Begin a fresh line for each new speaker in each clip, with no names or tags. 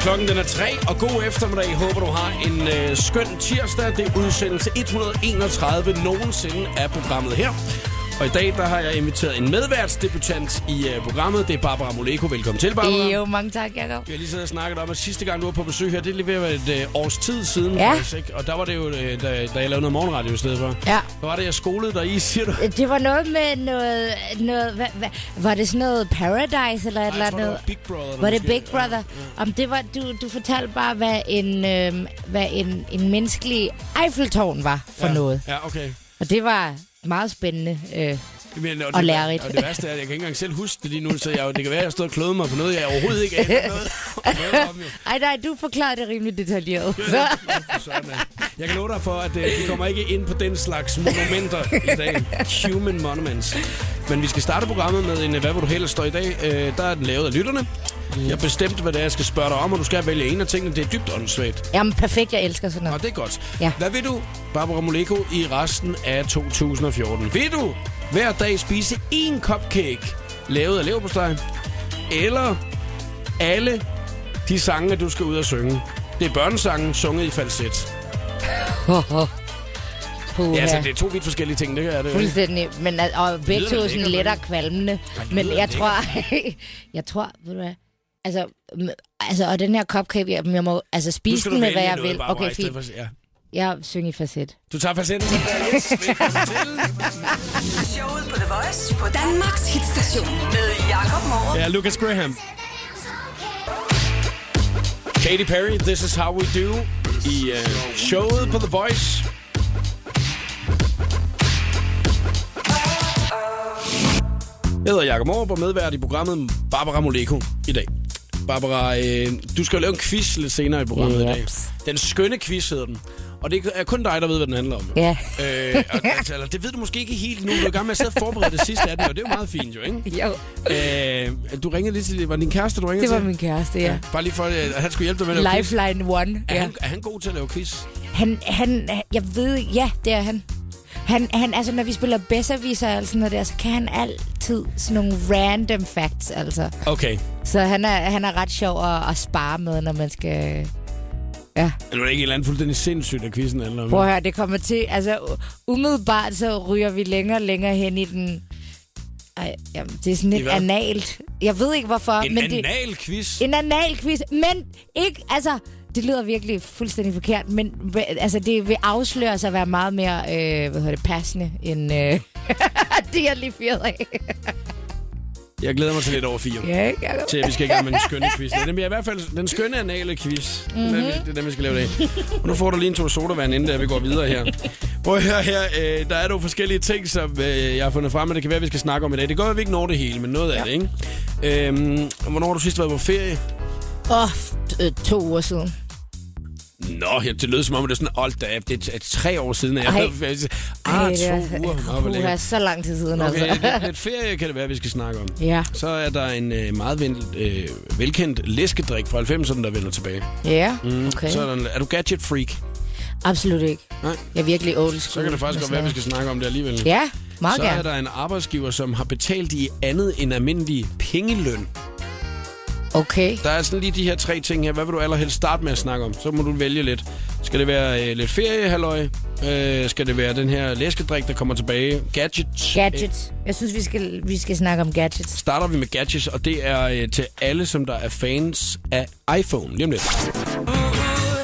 Klokken den er tre, og god eftermiddag. Håber, du har en øh, skøn tirsdag. Det er udsendelse 131 nogensinde af programmet her. Og i dag der har jeg inviteret en medværtsdebutant i øh, programmet. Det er Barbara Moleko. Velkommen til, Barbara.
Jo, mange tak, Jacob.
Vi har lige siddet og snakket om, at sidste gang, du var på besøg her, det er lige ved at være et øh, års tid siden.
Ja.
faktisk, ikke? Og der var det jo, øh, da, da jeg lavede noget morgenradio i stedet for.
Ja.
Der var det, jeg skolede dig i, siger du?
Det var noget med noget... noget hvad, hvad, var det sådan noget Paradise eller et eller
jeg tror,
andet?
det var Big Brother.
Var det
måske.
Big Brother? Ja, Om det var, du, du fortalte bare, hvad en, øhm, hvad en, en menneskelig Eiffeltårn var for
Ja.
ja. noget.
Ja, okay.
Og det var meget spændende. Øh,
Men, og,
Og
det,
lærerigt.
Og det værste er, at jeg kan ikke engang selv huske det lige nu, så jeg, det kan være, at jeg har stået og kløet mig på noget, jeg overhovedet ikke aner noget, noget om. Jo.
ej nej, du forklarede det rimelig detaljeret. Så,
Nå, for søren, ja. Jeg kan love dig for, at øh, vi kommer ikke ind på den slags monumenter i dag. Human monuments. Men vi skal starte programmet med en øh, Hvad vil du helst står i dag. Øh, der er den lavet af lytterne. Jeg har bestemt, hvad det er, jeg skal spørge dig om, og du skal vælge en af tingene. Det er dybt åndssvagt.
jamen perfekt, jeg elsker sådan
Og
noget.
det er godt.
Ja.
Hvad vil du, Barbara Moleko, i resten af 2014? Vil du hver dag spise én cupcake lavet af leverpostej? Eller alle de sange, du skal ud og synge? Det er børnesangen, sunget i falset.
Puha.
Ja, altså, det er to vidt forskellige ting, det er det. jo ikke.
Fuldstændig, men al- og begge
lyder
to
lidt
sådan
lækkert,
lidt
men-
og kvalmende.
Ej, det
Men
lyder
jeg tror, jeg tror, ved du hvad, altså, m- altså og den her cupcake, jeg, jeg må altså
Nu
spise
skal
den
du
med,
vælge
hvad jeg
noget,
vil.
Barbara, i
Okay,
stedet
fint.
for- Ja.
Jeg synger i facet.
Du tager patienten. Yes, velkommen til.
Showet på The Voice på Danmarks hitstation med Jakob Morup.
Ja, Lucas Graham. Katy Perry, This Is How We Do, i uh, showet på The Voice. Jeg hedder Jakob Morup og medvært i programmet Barbara Moleko i dag. Barbara, øh, du skal jo lave en quiz lidt senere i programmet i dag.
Jeps.
Den skønne quiz hedder den. Og det er kun dig, der ved, hvad den handler om.
Ja.
Øh, og, altså, eller det ved du måske ikke helt nu. Du er i gang med at sidde og forberede det sidste af den, og det er jo meget fint jo, ikke?
Jo,
Øh, du ringede lige til... Var det din kæreste, du ringede
det var
til?
min kæreste, ja.
Bare lige for, at han skulle hjælpe dig med at lave quiz.
Lifeline one,
Er,
ja.
han, er han god til at lave quiz?
Han, han, jeg ved, ja, det er han. Han, han, altså, når vi spiller Besserwisser eller sådan noget der, så kan han altid sådan nogle random facts, altså.
Okay.
Så han er, han er ret sjov at, at spare med, når man skal... Ja,
Nu er det ikke et eller andet fuldstændig sindssygt, at quizzen handler om.
prøv at høre, det kommer til... Altså, u- umiddelbart så ryger vi længere og længere hen i den... Ej, jamen, det er sådan
I
lidt
hvad?
analt. Jeg ved ikke, hvorfor,
En
men det...
anal quiz?
En anal quiz, men ikke... Altså, det lyder virkelig fuldstændig forkert, men hva- altså, det vil afsløre sig at være meget mere, øh, hvad hedder det, passende, end øh, det, jeg lige fyrede af.
Jeg glæder mig til lidt over fire.
Ja, ikke? Jacob?
til, at vi skal i gang med den skønne quiz. Det er nemlig i hvert fald den skønne anale quiz. Mm-hmm.
Mhm.
Det er den, vi skal lave i dag. Og nu får du lige en tur sodavand, inden da vi går videre her. Prøv at høre her. Øh, der er nogle forskellige ting, som øh, jeg har fundet frem, og det kan være, vi skal snakke om i dag. Det går, at vi ikke når det hele, men noget ja. af det, ikke? Øhm, hvornår har du sidst været på ferie?
Åh, f- øh, to uger siden.
Nå, ja, det lød som om, at det er sådan, alt da, det er tre år siden, at jeg
Ej.
havde ferie. Ah,
det er-
to uger. Nå, hvor
Puh, det er
lækkert.
så lang tid siden,
Okay,
altså.
lidt, lidt ferie kan det være, vi skal snakke om.
Ja.
Så er der en øh, meget ven, øh, velkendt læskedrik fra 90'erne, der vender tilbage.
Ja, okay.
Mm, Så er, der en, er du gadget freak?
Absolut ikke.
Nej.
Jeg er virkelig old school.
Så kan det faktisk godt være, at vi skal snakke om det alligevel.
Ja, meget
Så er
gerne.
der en arbejdsgiver, som har betalt i andet end almindelig pengeløn.
Okay.
Der er sådan lige de her tre ting her. Hvad vil du allerhelst starte med at snakke om? Så må du vælge lidt. Skal det være øh, lidt feriehalløj? Øh, skal det være den her læskedrik, der kommer tilbage? Gadgets? Øh,
Gadgets. Jeg synes, vi skal, vi skal snakke om gadgets.
starter vi med gadgets, og det er øh, til alle, som der er fans af iPhone. Lige om lidt.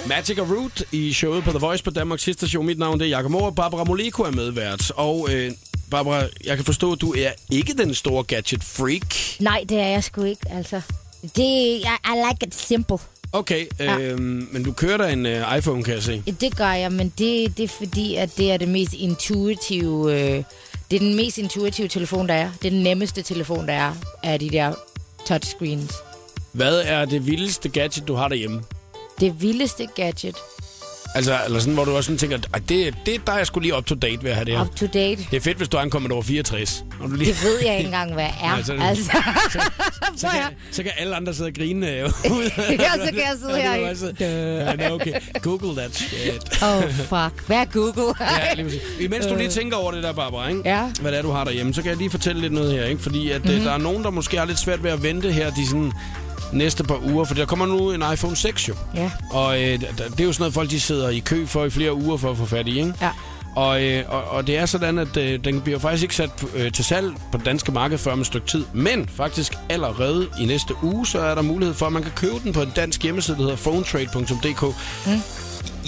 Magic og Root i showet på The Voice på Danmarks sidste show. Mit navn det er Jakob Moore, Barbara Moleko er medvært. Og øh, Barbara, jeg kan forstå, at du er ikke den store gadget-freak.
Nej, det er jeg sgu ikke, altså. Det, I, I like it simple.
Okay, øh,
Ja.
men du kører da en øh, iPhone, kan jeg se.
Ja, Det gør jeg, men det, det er fordi, at det er det mest intuitive... Øh, det er den mest intuitive telefon, der er. Det er den nemmeste telefon, der er af de der touchscreens.
Hvad er det vildeste gadget, du har derhjemme?
Det vildeste gadget.
Altså, eller sådan, hvor du også sådan tænker, at det, det er dig, jeg skulle lige up to date ved at have det her.
Up to date.
Det er fedt, hvis du ankommer over 64. Når du lige...
Det ved jeg ikke engang, hvad er.
Nej, så er det-
altså.
så,
Prøv at
kan, så kan alle andre sidde og grine øh, ud.
Ja, så kan jeg sidde
Ja, det
her,
kan
ikke?
bare sidde. Ja, det er okay. Google that shit.
Oh, fuck. Hvad er Google?
Ja, lige præcis. Imens du lige tænker over det der, Barbara, ikke?
Øh. Ja. Mhm.
hvad øh, det er, du har derhjemme, så kan jeg lige fortælle lidt noget her. Ikke? Fordi at, mm-hmm. der er nogen, der måske har lidt svært ved at vente her. De er sådan, næste par uger, for der kommer nu en iPhone 6 jo.
Ja.
Og øh, d- d- det er jo sådan noget, folk de sidder i kø for i flere uger for at få fat i, ikke?
Ja.
Og, øh, og, og det er sådan, at øh, den bliver faktisk ikke sat øh, til salg på det danske marked før om et stykke tid. Men faktisk allerede i næste uge, så er der mulighed for, at man kan købe den på en dansk hjemmeside, der hedder phonetrade.dk. Mm.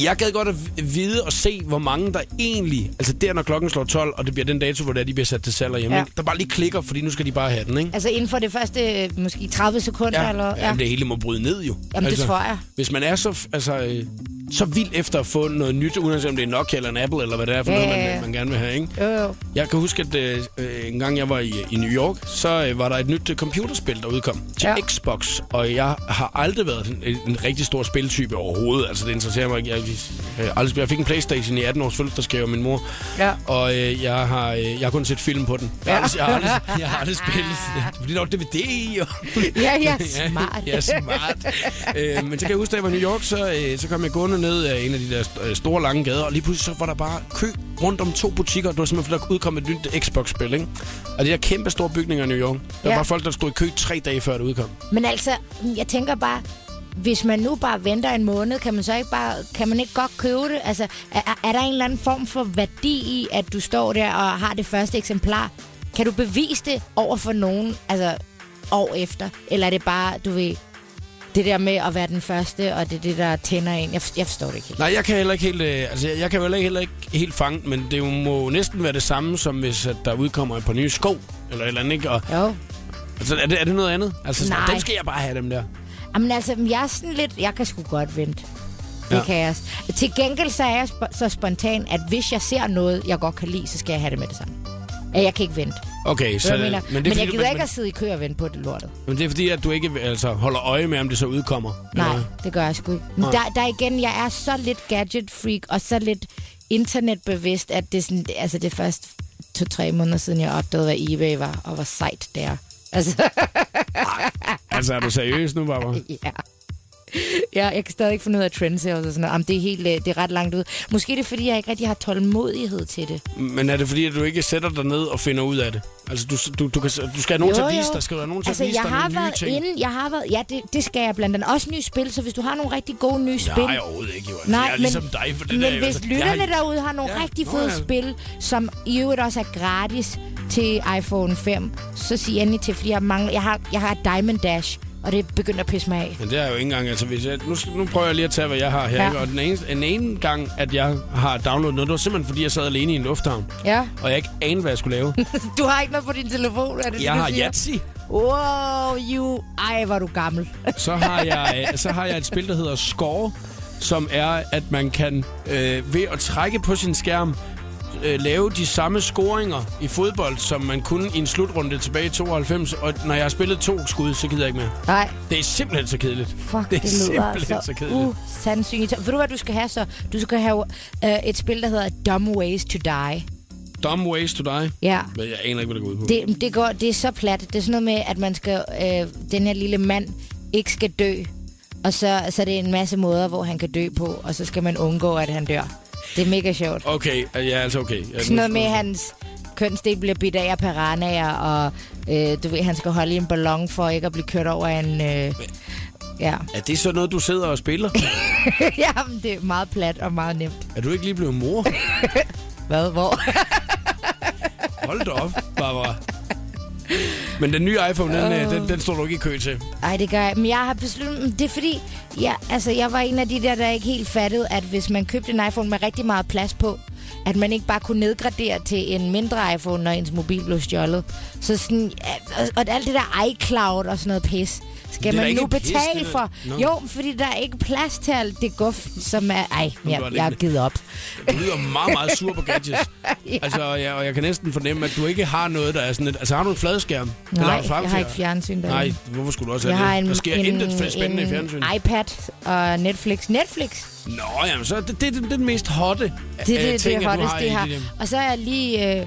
Jeg gad godt at v- vide og se, hvor mange der egentlig... Altså der, når klokken slår 12, og det bliver den dato, hvor det er, de bliver sat til salg hjemme.
Ja.
Ja. Der bare lige klikker, fordi nu skal de bare have den, ikke?
Altså inden for det første, øh, måske 30 sekunder,
Ja,
eller...
ja. Jamen, det hele må bryde ned jo. Altså,
Jamen, det tror jeg.
Hvis man er så, f- altså, øh, så vild efter at få noget nyt, uanset om det er Nokia eller en Apple, eller hvad det er for
Ja,
noget,
ja, ja.
man, man gerne vil have, ikke?
Jo, jo.
Jeg kan huske, at øh, øh, en gang jeg var i, i New York, så øh, var der et nyt øh, computerspil, der udkom til
Ja.
ja. Xbox. Og jeg har aldrig været en, en rigtig stor spiltype overhovedet. Altså, det interesserer mig ikke. Jeg, jeg, jeg, jeg fik en Playstation i 18 års fødselsdagsgave af min mor.
Ja.
Og øh, jeg, har, øh, jeg har kun set film på den. Jeg har
Ja.
aldrig, jeg har aldrig, jeg har aldrig spillet. Fordi der var DVD og...
Ja, ja, smart.
ja, smart. øh, men så kan jeg huske, da jeg var i New York, så, øh, så kom jeg gående ned af en af de der st- øh, store lange gader, og lige pludselig så var der bare kø rundt om to butikker. Det var simpelthen, fordi der udkom et nyt Xbox-spil, ikke? Og de der kæmpe store bygninger i New York. Der
Ja.
var folk, der stod i kø tre dage før det udkom.
Men altså, jeg tænker bare, hvis man nu bare venter en måned, kan man så ikke bare, kan man ikke godt købe det? Altså, er, er der en eller anden form for værdi i, at du står der og har det første eksemplar? Kan du bevise det over for nogen, altså år efter? Eller er det bare, du ved, det der med at være den første, og det er det, der tænder en? Jeg, jeg forstår det ikke helt.
Nej, jeg kan heller ikke helt, øh, altså, jeg, jeg kan heller ikke, heller ikke helt fange den, men det jo må næsten være det samme, som hvis at der udkommer et par nye sko, eller et eller andet, ikke? Og,
Jo.
altså, er, det, er det noget andet? Altså,
Nej.
dem skal jeg bare have, dem der.
Jamen altså, jeg er sådan lidt... Jeg kan sgu godt vente. Det ja.
Ja.
kan jeg også. Til gengæld så er jeg sp- så spontan, at hvis jeg ser noget, jeg godt kan lide, så skal jeg have det med det samme. Ja, jeg kan ikke vente.
Okay,
Så,
så...
jeg mener, men,
er
men jeg
fordi,
gider ikke at sidde i kø og vente på det lortet.
Men det er fordi, at du ikke altså, holder øje med, om det så udkommer.
Nej,
Eller?
det gør jeg sgu ikke. Men
Nej.
der, der igen, jeg er så lidt gadget-freak og så lidt internetbevidst, at det er, sådan, det- altså det er først to-tre måneder siden, jeg opdagede, hvad eBay var, og hvor sejt det er. Altså,
Altså, er du seriøs nu, Barbara?
ja. Ja, jeg kan stadig ikke finde ud af trends her og sådan noget. Jamen, det er, helt, øh, det er ret langt ud. Måske er det, fordi jeg ikke rigtig har tålmodighed til det.
Men er det fordi, at du ikke sætter dig ned og finder ud af det? Altså, du, du, du, kan, du skal have nogen til at vise dig. Skal du have nogen til
altså,
at vise
jeg
dig
har
nogle nye
været
ting?
inde, jeg har været, ja, det, det skal jeg blandt andet. Også nye spil, så hvis du har nogle rigtig gode nye spil.
Nej, overhovedet ikke, jo. Altså,
Nej,
jeg er ligesom dig for det
men
der. jo.
hvis
Altså,
lytterne
jeg, har-
derude har nogle ja,
Ja,
rigtig
nå
fede
ja.
spil, som i øvrigt også er gratis til iPhone 5, så sig endelig til, fordi jeg, mangler, jeg, har, jeg har Diamond Dash, og det begynder at pisse mig af.
Men det er jo ikke engang, altså hvis jeg, nu, skal- nu prøver jeg lige at tage, hvad jeg har her.
Ja.
Ja. Og den ene, den ene gang, at jeg har downloadet noget, det var simpelthen fordi, jeg sad alene i en lufthavn.
Ja.
Og jeg ikke anede, hvad jeg skulle lave.
Du har ikke noget på din telefon, er det
jeg
det, du
har
siger?
Yatzy.
Wow, you... Ej, var du gammel.
Så har jeg, øh, så har jeg et spil, der hedder Score, som er, at man kan øh, ved at trække på sin skærm øh, lave de samme scoringer i fodbold, som man kunne i en slutrunde tilbage i 92. Og når jeg har spillet to skud, så gider jeg ikke mere.
Nej,
Det er simpelthen så kedeligt.
fuck, det,
det er
lyder
simpelthen så
altså
kedeligt.
usandsynligt. Ved du, hvad du skal have så? Du skal have øh, et spil, der hedder Dumb Ways to Die.
Dumb ways to die.
Ja.
Men jeg aner ikke, hvad det går ud på.
Det, det, går, det er så plat. Det er sådan noget med, at man skal, øh, den her lille mand ikke skal dø. Og så, så er det en masse måder, hvor han kan dø på, og så skal man undgå, at han dør. Det er mega sjovt.
Okay, øh, ja, altså okay. Ja,
Sådan
nu-
noget med, at hans kønsdel bliver bidt af af piranhaer, og øh, du ved, han skal holde i en ballon for ikke at blive kørt over af en... Øh, ja.
Er det så noget, du sidder og spiller?
Jamen, det er meget plat og meget nemt.
er du ikke lige blevet mor?
Hvad? Hvor?
Hold da op, Barbara. Men den nye iPhone, den, øh, den, den står du ikke i kø til.
Ej, det gør jeg. Men jeg har besluttet... men Det er fordi, ja, altså, jeg var en af de der, der ikke helt fattede, at hvis man købte en iPhone med rigtig meget plads på, at man ikke bare kunne nedgradere til en mindre iPhone, når ens mobil blev stjålet. Så sådan, ja, og, og alt det der iCloud og sådan noget pis,
Det er
skal
da
man
ikke
nu
pis,
betale
det er-
for.
Nå.
Jo, fordi der er ikke plads til alt det guf, som er... Ej,
var
jeg,
det
jeg har
ikke-
givet op.
Du lyder meget, meget sur på gadgets. ja. Altså, og jeg, og jeg kan næsten fornemme, at du ikke har noget, der er sådan et... Altså, har du en fladskærm? Eller
Nej,
har du
jeg har ikke
farvefjernsyn?
fjernsyn derinde.
Nej, hvorfor skulle du også
Jeg
have
har
det?
en,
der sker
en,
intet fe- spændende
en
i fjernsyn.
iPad og Netflix. Netflix!
Nå, jamen, så er det, det, det, det er den mest hotte
Det,
øh,
det, det
ting,
er
at du
hottest,
har
det
i
her.
dit hjem.
Og så har jeg lige øh,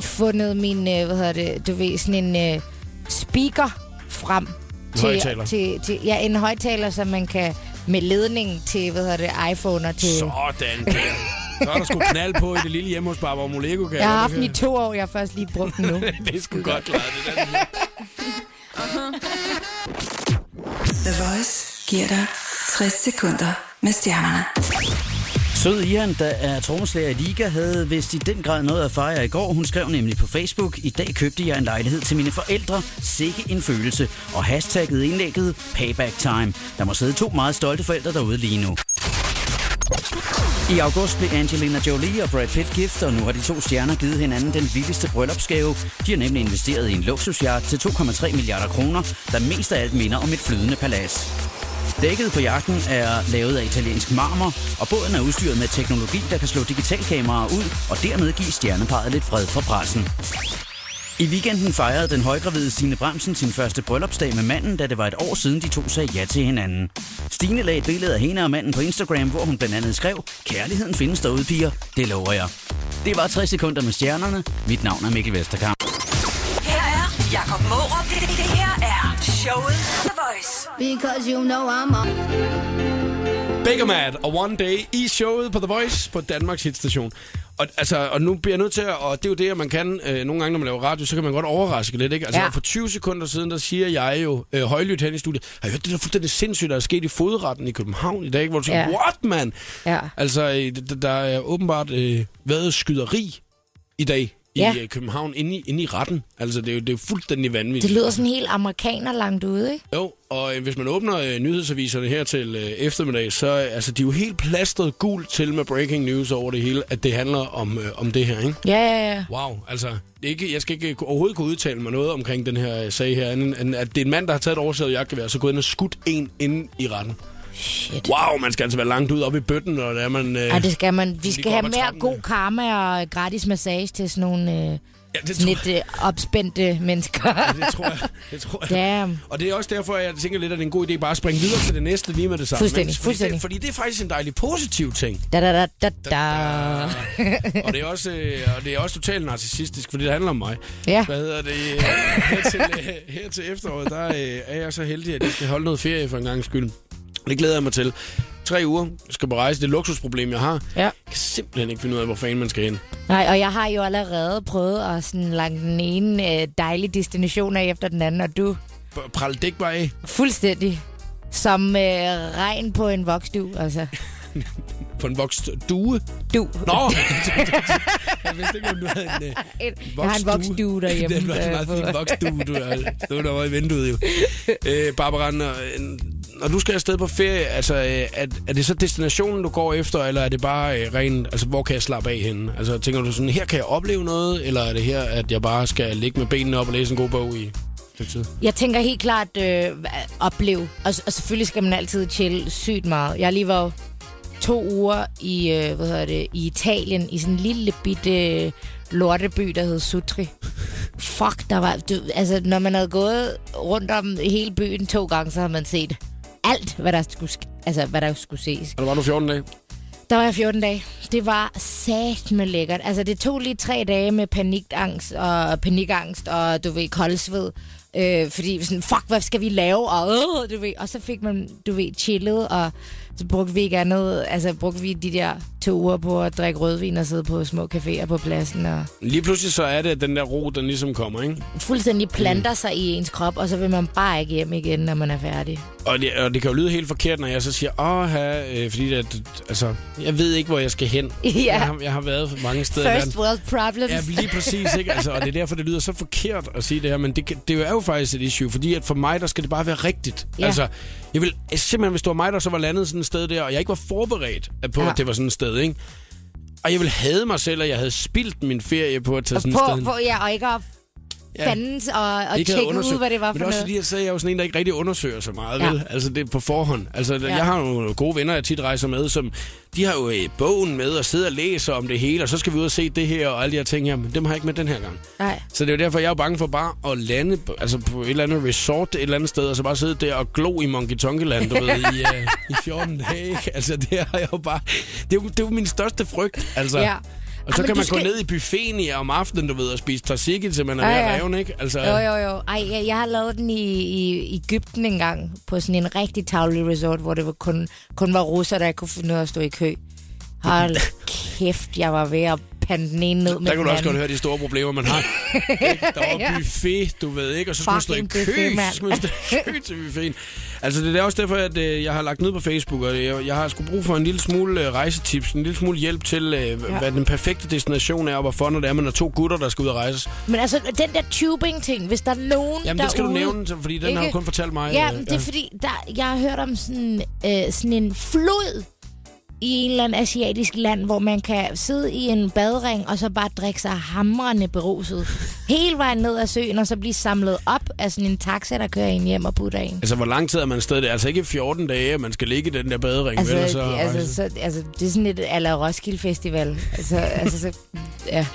fundet min, øh, hvad hedder det, du ved, sådan en øh, speaker frem.
højttaler.
til, til, ja, en højtaler, som man kan med ledning til, hvad hedder det, iPhone og til...
Sådan der. Så er der sgu knald på i det lille hjemme hos Barbara Molego. Kan
Jeg har haft
det
den i
kan-
to år, jeg har først lige brugt den nu.
Det er sgu godt klaret, det der.
The Voice giver dig 60 sekunder med stjernerne.
Sød Ian, der er trommeslager i Liga, havde vist i den grad noget at fejre i går. Hun skrev nemlig på Facebook, i dag købte jeg en lejlighed til mine forældre, sikke en følelse, og hashtagget indlægget Payback Time. Der må sidde to meget stolte forældre derude lige nu. I august blev Angelina Jolie og Brad Pitt gift, og nu har de to stjerner givet hinanden den vildeste bryllupsgave. De har nemlig investeret i en luksusjagt til 2,3 milliarder kroner, der mest af alt minder om et flydende palads. Dækket på jagten er lavet af italiensk marmor, og båden er udstyret med teknologi, der kan slå digitalkameraer ud, og dermed give stjerneparet lidt fred fra pressen. I weekenden fejrede den højgravide Stine Bremsen sin første bryllupsdag med manden, da det var et år siden de to sagde ja til hinanden. Stine lagde et billede af hende og manden på Instagram, hvor hun blandt andet skrev, Kærligheden findes derude, piger. Det lover jeg. Det var 60 sekunder med stjernerne. Mit navn er Mikkel Vesterkamp.
Her er Jakob Morup. Det, det, det her er showet The Voice.
Because you know I'm on.
Bakermat og One Day i showet på The Voice på Danmarks hitstation. Og, altså, og nu bliver jeg nødt til at, og det er jo det, at man kan øh, nogle gange, når man laver radio, så kan man godt overraske lidt, ikke? Altså,
Ja.
ja. for 20 sekunder siden, der siger jeg jo øh, højlydt hen i studiet, har I hørt det der fuldstændig sindssygt, der er sket i fodretten i København i dag, ikke? Hvor du tænker,
Ja.
ja. what, man?
Ja.
Altså, øh, d- der er åbenbart øh, været skyderi i dag i
Ja.
ja. København inde i, inde i retten. Altså, det er jo det er jo fuldstændig vanvittigt.
Det lyder sådan helt amerikaner langt ude, ikke?
Jo, og øh, hvis man åbner øh, nyhedsaviserne her til øh, eftermiddag, så øh, altså, de er jo helt plastret gult til med breaking news over det hele, at det handler om, øh, om det her, ikke?
Ja, ja, ja.
Wow, altså, det er ikke, jeg skal ikke kunne- overhovedet kunne udtale mig noget omkring den her øh, sag her, anden end at det er en mand, der har taget et oversædet jagtgevær, og så gået ind og skudt en inde i retten.
Shit.
Wow, man skal altså være langt ud op i bøtten, når det er man... Øh,
Ej, det skal man. Vi
Lige
skal
gå op
have
ad
mere
trappen,
god
ja.
karma og øh, gratis massage til sådan nogle øh,
ja, det, tror,
sådan lidt øh, opspændte mennesker.
det tror jeg. Det tror jeg.
Damn.
Og det er også derfor, jeg tænker lidt, at det er en god idé bare at springe videre til det næste lige med det samme.
Fuldstændig,
ikke? fordi
fuldstændig.
Det, fordi det er faktisk en dejlig positiv ting.
Da, da, da, da, da.
og det er også, øh, og det er også totalt narcissistisk, fordi det handler om mig.
Ja.
Hvad hedder det? øh, Her til, øh, her til efteråret, der øh, er jeg så heldig, at jeg skal holde noget ferie for en gang skyld. Det glæder jeg mig til. Tre uger jeg skal på rejse. Det er et luksusproblem, jeg har. Jeg
Ja.
kan simpelthen ikke finde ud af, hvor fanden man skal hen.
Nej, og jeg har jo allerede prøvet at sådan lange den ene øh, dejlige destination af efter den anden, og du
P- Pral dæk bare af.
fuldstændig som øh, regn på en voksdu, altså.
På en vokst due.
Du.
Nå! jeg vidste ikke, om du havde en, øh,
En, jeg har en voksdue derhjemme.
det var meget
øh,
fint
på-
voksdue, du har. Det var der var i vinduet jo. Øh, Barbara, når, når du skal afsted på ferie, altså, øh, er, er det så destinationen, du går efter, eller er det bare øh, rent, altså hvor kan jeg slappe af henne? Altså tænker du sådan, her kan jeg opleve noget, eller er det her, at jeg bare skal ligge med benene op og læse en god bog i et stykke tid?
Jeg tænker helt klart øh, hva- opleve, og, og selvfølgelig skal man altid chill sygt meget. Jeg lige var jo to uger i, øh, hvad hedder det, i Italien, i sådan en lille bitte øh, lorteby, der hed Sutri. Fuck, der var... Du, altså, når man havde gået rundt om hele byen to gange, så havde man set alt, hvad der skulle, sk- altså, hvad der skulle ses.
Og der var nu 14 dage.
Der var jeg 14 dage. Det var sat med lækkert. Altså, det tog lige tre dage med panikangst og panikangst og, du ved, koldsved. Øh, fordi vi sådan, fuck, hvad skal vi lave? Og, øh, du ved, og så fik man, du ved, chillet, og så brugte vi ikke andet. Altså, brugte vi de der to uger på at drikke rødvin og sidde på små caféer på pladsen. Og
Lige pludselig så er det, at den der ro, den ligesom kommer, ikke?
fuldstændig planter sig i ens krop, og så vil man bare ikke hjem igen, når man er færdig.
Og det, og det kan jo lyde helt forkert, når jeg så siger, åh, øh, fordi at, altså, jeg ved ikke, hvor jeg skal hen.
Ja.
Jeg, har, jeg har været mange steder. i verden.
First world problems.
Ja, lige præcis, ikke? Altså, og det er derfor, det lyder så forkert at sige det her, men det, kan- det er jo faktisk et issue, fordi at for mig, der skal det bare være rigtigt.
Ja.
Ja. Altså, jeg vil simpelthen, hvis det var mig, der så var landet sådan et sted der, og jeg ikke var forberedt på,
Ja.
ja. at det var sådan et sted, ikke? Og jeg ville hade mig selv, at jeg havde spildt min ferie på at tage sådan et
på,
sted.
på, ja, og ikke at fandens og, og
Ikke havde
tjekke ud,
undersøgt.
hvad det
Men
var for
det er
noget.
også fordi, jeg sagde, at jeg er jo sådan en, der ikke rigtig undersøger så meget,
Ja.
ja. vel? Altså det er på forhånd. Altså, ja. jeg har jo gode venner, jeg tit rejser med, som de har jo øh, bogen med og sidder og læser om det hele, og så skal vi ud og se det her og alle de her ting her, men dem har jeg ikke med den her gang.
Nej.
Så det er jo derfor, jeg er jo bange for bare at lande på, altså på et eller andet resort et eller andet sted, og så bare sidde der og glo i Monkey Tonky Land, du ved, i, øh, i 14 dage. ikke? Altså det har jeg jo bare... Det er jo, det er jo min største frygt, altså.
Ja.
Og så
Ej, men
kan
du
man
skal-
gå ned i buffeten i om aftenen, du ved, og spise tzatziki, til man er
Ja,
ved at
ja.
revne, ikke? Altså,
Jo, jo, jo. Ej, jeg, jeg har lavet den i, i Ægypten engang, på sådan en rigtig tavlig resort, hvor det var kun, kun var russer, der ikke kunne finde ud af at stå i kø. Hold kæft, jeg var ved at pande den ene ned med
Der kunne
den
du også godt
anden.
høre de store problemer, man har. Ikke? der var
Ja.
buffet, du ved ikke, og så skulle man stå i
Fucking
kø,
buffet, mand.
så skulle man stå i kø til buffeten. Altså, det er også derfor, at øh, jeg har lagt ned på Facebook, og jeg, jeg har sgu brug for en lille smule øh, rejsetips, en lille smule hjælp til, øh, ja. hvad den perfekte destination er, og hvorfor, når det er, man er to gutter, der skal ud og rejse.
Men altså, den der tubing-ting, hvis der er nogen
Jamen,
derude,
det skal du nævne, så- fordi den har du kun fortalt mig,
Ja,
øh,
men det
ja.
er fordi, der, jeg har hørt om sådan, øh, sådan en flod i en eller anden asiatisk land, hvor man kan sidde i en badring og så bare drikke sig hamrende beruset. Hele vejen ned ad søen, og så blive samlet op af sådan en taxa, der kører en hjem og putter en.
Altså, hvor lang tid er man afsted? Det er altså ikke 14 dage, at man skal ligge i den der badering.
Altså,
vel, og
det, altså, så, altså, det er sådan lidt ala Roskilde Festival. Altså, altså så, ja,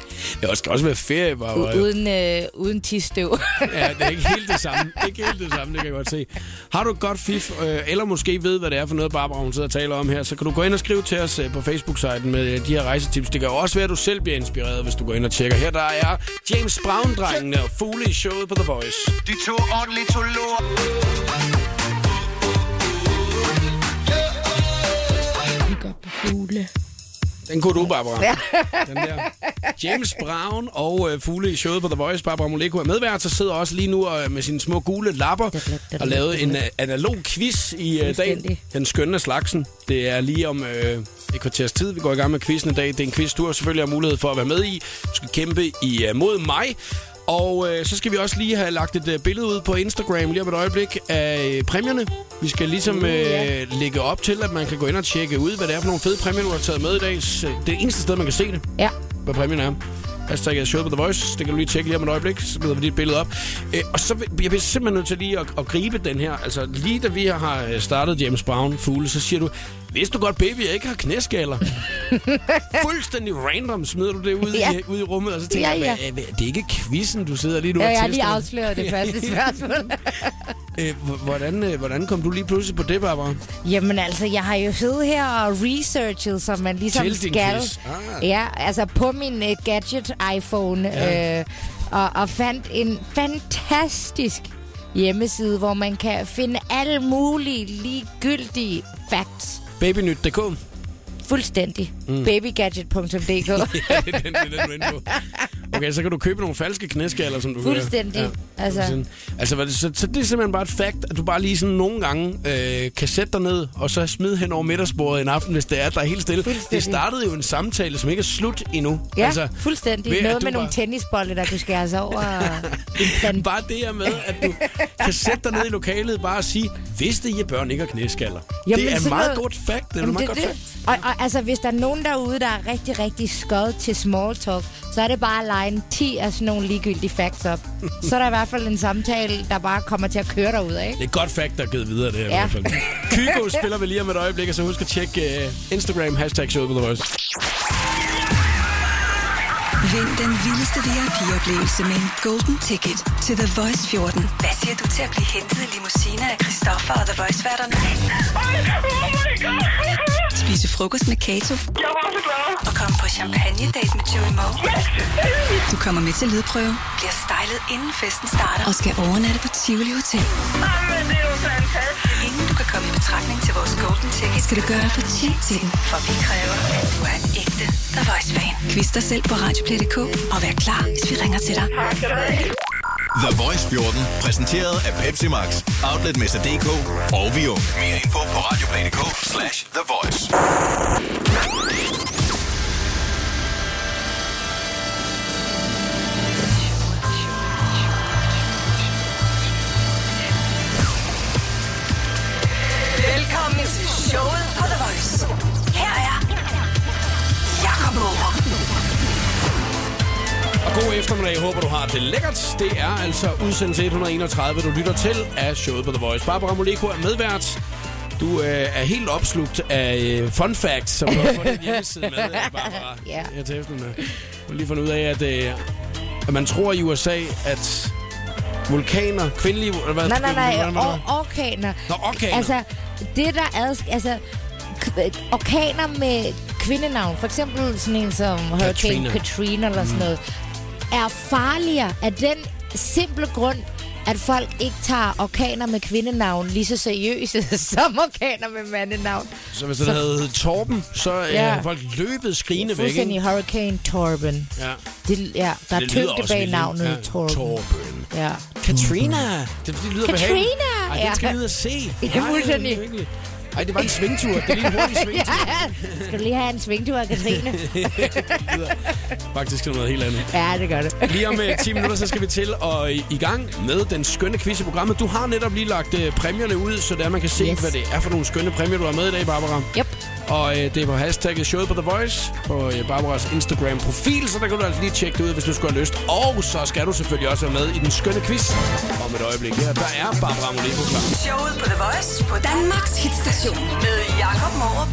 Ja, og skal også være ferie, hvor...
u- uden, øh, uden tisstøv.
Ja, det er ikke helt det samme. Det er ikke helt det samme, det kan jeg godt se. Har du et godt fif, øh, eller måske ved, hvad det er for noget, Barbara hun sidder og taler om her, så kan du gå ind og skrive til os øh, på Facebook-siden med øh, de her rejsetips. Det kan jo også være, at du selv bliver inspireret, hvis du går ind og tjekker. Her der er James Brown-drengene og fugle i showet på The Voice.
De to ordentlige to lort.
Den kunne du, Barbara. Den der. James Brown og øh, fugle i showet på The Voice. Barbara Moleko er medvært, så sidder også lige nu øh, med sine små gule lapper og lavet en øh, analog quiz i øh, dag.
Fuldstændig.
Den skønne slagsen. Det er lige om øh, et kvarters tid, vi går i gang med quizzen i dag. Det er en quiz, du har selvfølgelig har mulighed for at være med i. Du skal kæmpe i, øh, mod mig. Og øh, så skal vi også lige have lagt et øh, billede ud på Instagram lige om et øjeblik af øh, præmierne. Vi skal ligesom øh, lægge op til, at man kan gå ind og tjekke ud, hvad det er for nogle fede præmier, du har taget med i dag. Så Det er det eneste sted, man kan se det
ja.
hvad præmien er. Hashtag er showet på The Voice. Det kan du lige tjekke lige om et øjeblik. Så smider vi dit billede op. Øh, og så vil- jeg bliver simpelthen nødt til lige at, at, gribe den her. Altså lige da vi har øh, startet James Brown fugle, så siger du, hvis du godt baby, jeg ikke har knæskaller. Fuldstændig random smider du det ud, ja.
Ja.
i, øh, ud i rummet, og så tænker
Ja,
jeg,
ja.
"Hvad- hvad- det er ikke quizzen, du sidder lige nu
Ja,
og
jeg har
tester."
lige afsløret det første spørgsmål.
Øh, h- hvordan, øh, hvordan kom du lige pludselig på det, Barbara?
Jamen altså, jeg har jo siddet her og researchet, som man ligesom
Til din
skal.
quiz. Ah.
Ja, altså på min uh, gadget-iPhone.
Ja.
Ja. Øh, og, og fandt en fantastisk hjemmeside, hvor man kan finde alle mulige ligegyldige facts.
Babynyt.dk
Fuldstændig. Mm. Babygadget.dk.
Ja, det er den, det er den, du er inde på. Okay, så kan du købe nogle falske knæskaller, som du kan-
Fuldstændig. Altså.
Altså, altså hvad det, så, så det er simpelthen bare et fakt, at du bare lige sådan nogle gange øh, kan sætte dig ned, og så smide hen over middagsbordet en aften, hvis det er, at der er helt stille.
Fuldstændig.
Det startede jo en samtale, som ikke er slut endnu.
Ja,
altså,
altså, fuldstændig.
ved at
Noget
du
med nogle
bare-
tennisbolde, der kunne skæres over. og en plan-
Bare det her med, at du kan sætte dig ned i lokalet bare og sige, vidste I, at børn ikke har knæskaller?
Jamen,
det er
sådan
meget
noget-
godt fakt. Det er
Jamen,
meget godt
det er
fakt.
det. Og, og altså, hvis der er nogen derude, der er rigtig, rigtig skød til small talk, så er det bare at lege en 10 af sådan nogle ligegyldige facts op. så er der i hvert fald en samtale, der bare kommer til at køre derud af.
Det er et godt fakt, der er givet videre, det her
Ja.
i hvert fald. Kygo spiller vi lige om et øjeblik, og så husk at tjekke uh, Instagram, hashtag showet på The Voice.
Vind den vildeste VIP-oplevelse med en golden ticket til The Voice 14. Hvad siger du til at blive hentet i limousine af Christoffer og The Voice-værterne?
oh
Spise frokost med Kato og komme på champagne-date med Joey Moe. Du kommer med til lydprøve, bliver stylet inden festen starter og skal overnatte på Tivoli Hotel. Inden du kan komme i betragtning til vores golden ticket, skal du gøre dig fortjent til den, for vi kræver, at du er en ægte The Voice-fan. Quiz dig selv på radioplay.dk og vær klar, hvis vi ringer til dig.
The Voice 14. Præsenteret af Pepsi Max. Outletmester.dk og Vio. Mere info på radioplay.dk slash The Voice.
Velkommen til showet på The Voice. Her er Jakob Morup.
Og god eftermiddag. Jeg håber, du har det lækkert. Det er altså udsendelse 131, du lytter til af showet på The Voice. Barbara Moleko er medvært. Du øh, er helt opslugt af øh, fun facts, som du har på din hjemmeside med, øh, Barbara.
Ja.
Her til eftermiddag. Jeg har lige fundet ud af, at, øh, at man tror i USA, at vulkaner, kvindelige... Hvad,
Nej, nej, nej.
Hvordan var det?
Or- orkaner.
Nå, orkaner.
Altså, det der adsk... Altså, k- øh, orkaner med kvindenavn. For eksempel sådan en som Hurricane
Katrina.
Katrina, Katrina eller sådan noget. Er farligere af den simple grund, at folk ikke tager orkaner med kvindenavn lige så seriøse som orkaner med mandenavn.
Så hvis den havde heddet Torben, så ja.
Ja.
havde folk løbet skrigende væk. Ikke?
Fuldstændig Hurricane Torben.
Ja.
Det, ja, der er
Det lyder
tyngde
også
bag
vildt,
navnet
ikke? Ja.
Torben.
Torben.
Ja.
Katrina! Det, det lyder
Katrina!
behageligt. Ej, det skal
Ja.
vi ud og se.
Ja, fuldstændig.
Ej, virkelig. Ej, det var en svingtur. Det er lige en hurtig
ja.
svingtur.
Skal du lige have en svingtur af Katrine?
Faktisk er det noget helt andet.
ja, det gør det.
Lige om øh, 10 minutter, så skal vi til og i, i gang med den skønne quiz i programmet. Du har netop lige lagt øh, præmierne ud, så der man kan se, yes.
Yes.
hvad det er for nogle skønne præmier, du har med i dag, Barbara.
Yep.
Og øh, det er på hashtagget showet på The Voice på øh, Barbaras Instagram-profil, så der kan du altså lige tjekke det ud, hvis du skulle have lyst. Og så skal du selvfølgelig også være med i den skønne quiz om et øjeblik. Her, der er Barbara Moleko klar.
Showet på The Voice på Danmarks hitstation med Jakob Morup.